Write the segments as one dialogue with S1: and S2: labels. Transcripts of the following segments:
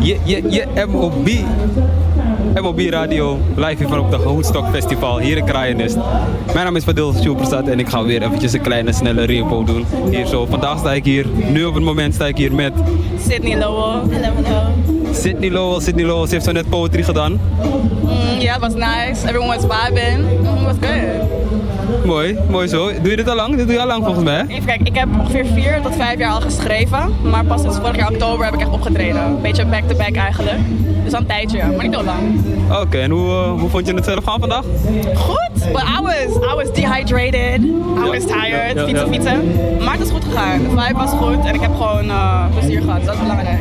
S1: Je, je, je MOB, MOB Radio, live hier op de Hoedstok Festival, hier in Kraaienest. Mijn naam is Fadil Sjoeperstad en ik ga weer eventjes een kleine snelle repo doen. Hier zo, vandaag sta ik hier, nu op het moment sta ik hier met
S2: Sydney Lowell. Hello, hello.
S1: Sydney Lowell. Sydney Lowell, ze heeft zo net poetry gedaan.
S2: Mm, yeah, it was nice. Everyone was vibing. Mm, It was good.
S1: Mooi, mooi zo. Doe je dit al lang? Dit doe je al lang volgens mij, hè?
S2: Even kijken, ik heb ongeveer vier tot vijf jaar al geschreven. Maar pas sinds vorig jaar oktober heb ik echt opgetreden. Beetje back-to-back eigenlijk. Dus al een tijdje, maar niet heel lang.
S1: Oké, en hoe, eh, hoe vond je het zelf gaan vandaag?
S2: Goed, but I was, I was dehydrated. I was tired.
S1: ja, ja.
S2: fietsen, fietsen. Maar het is goed gegaan. De vibe was goed en ik heb gewoon eh, plezier gehad. Dus dat is belangrijk.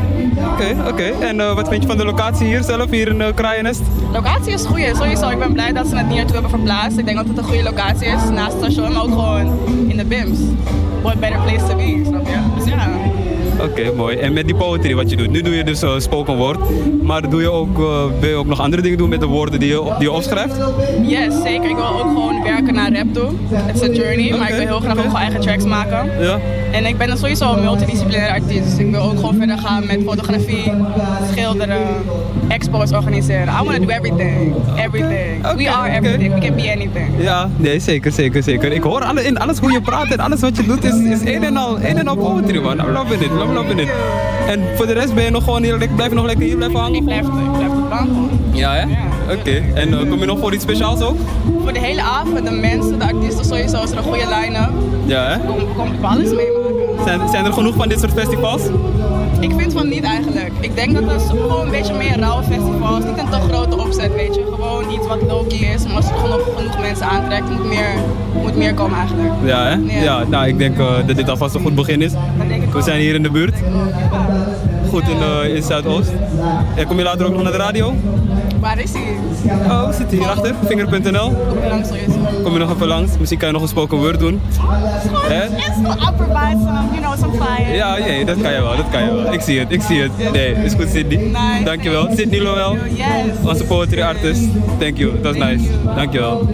S1: Oké, oké. En eh, wat vind je van de locatie hier zelf, hier in eh, Kraaienest?
S2: Locatie is goed, sowieso. Ik ben blij dat ze het hier naartoe hebben verplaatst. Ik denk dat het een goede locatie is, naast het station, maar ook gewoon in de BIMS. What better place to be, snap je? Dus ja.
S1: Oké, mooi. En met die poetry wat je doet. Nu doe je dus eh, spoken word. Maar doe je ook, eh, wil je ook nog andere dingen doen met de woorden die je, die je opschrijft?
S2: Yes, zeker. Ik wil ook gewoon werken naar rap toe. Het is een journey, maar ik wil heel graag ook gewoon eigen tracks maken.
S1: Ja.
S2: En ik ben sowieso een multidisciplinair artiest. Dus ik wil ook gewoon verder gaan met fotografie, schilderen, expos organiseren. I want to do everything. Everything.
S1: Oké,
S2: We are
S1: oké.
S2: everything. We can be anything.
S1: Ja, nee, zeker, zeker, zeker. Ik hoor alle, in alles hoe je praat en alles wat je doet is, is een en al, een en al poetry, man. I'm loving it, I'm loving it. En voor de rest ben je nog gewoon hier, lekker- blijf je nog lekker hier blijven
S2: Ik
S1: hangen?
S2: blijf, ik blijf op de baan gewoon.
S1: Ja, hè?
S2: Ja.
S1: Oké. En eh, kom je nog voor iets speciaals ook?
S2: Voor de hele avond, de mensen, de artiesten, sowieso is er een goede line-up.
S1: Ja, hè?
S2: Kom, kom ik alles meemaken?
S1: Zijn, zijn er genoeg van dit soort festivals?
S2: Ik vind van niet eigenlijk. Ik denk dat er gewoon een beetje meer rauwe festivals, niet een te grote opzet, weet je. Gewoon iets wat low-key is, maar als het genoeg, genoeg mensen aantrekt, moet meer, moet meer komen eigenlijk.
S1: Ja, hè?
S2: Ja.
S1: Ja, nou, ik denk eh, dat dit alvast een goed begin is.
S2: Dat denk ik
S1: We
S2: ook.
S1: zijn hier in de buurt. Goed in, eh, in Zuidoost. En kom je later ook nog naar de radio?
S2: Waar is hij?
S1: Oh, zit hierachter, vinger.nl.
S2: Kom je langs sowieso.
S1: Kom je nog even langs? Misschien kan je nog een spoken word doen.
S2: Het is
S1: Hè?
S2: gewoon- het is gewoon upper vibes en you know, some fire.
S1: Ja, jee, dat kan je wel, dat kan je wel. Ik zie het, ik zie het. Nee, is goed, Sydney.
S2: Nice.
S1: Dankjewel. Sydney Lowell,
S2: Yes.
S1: onze poetry artist. Thank you, dat is nice. Dankjewel.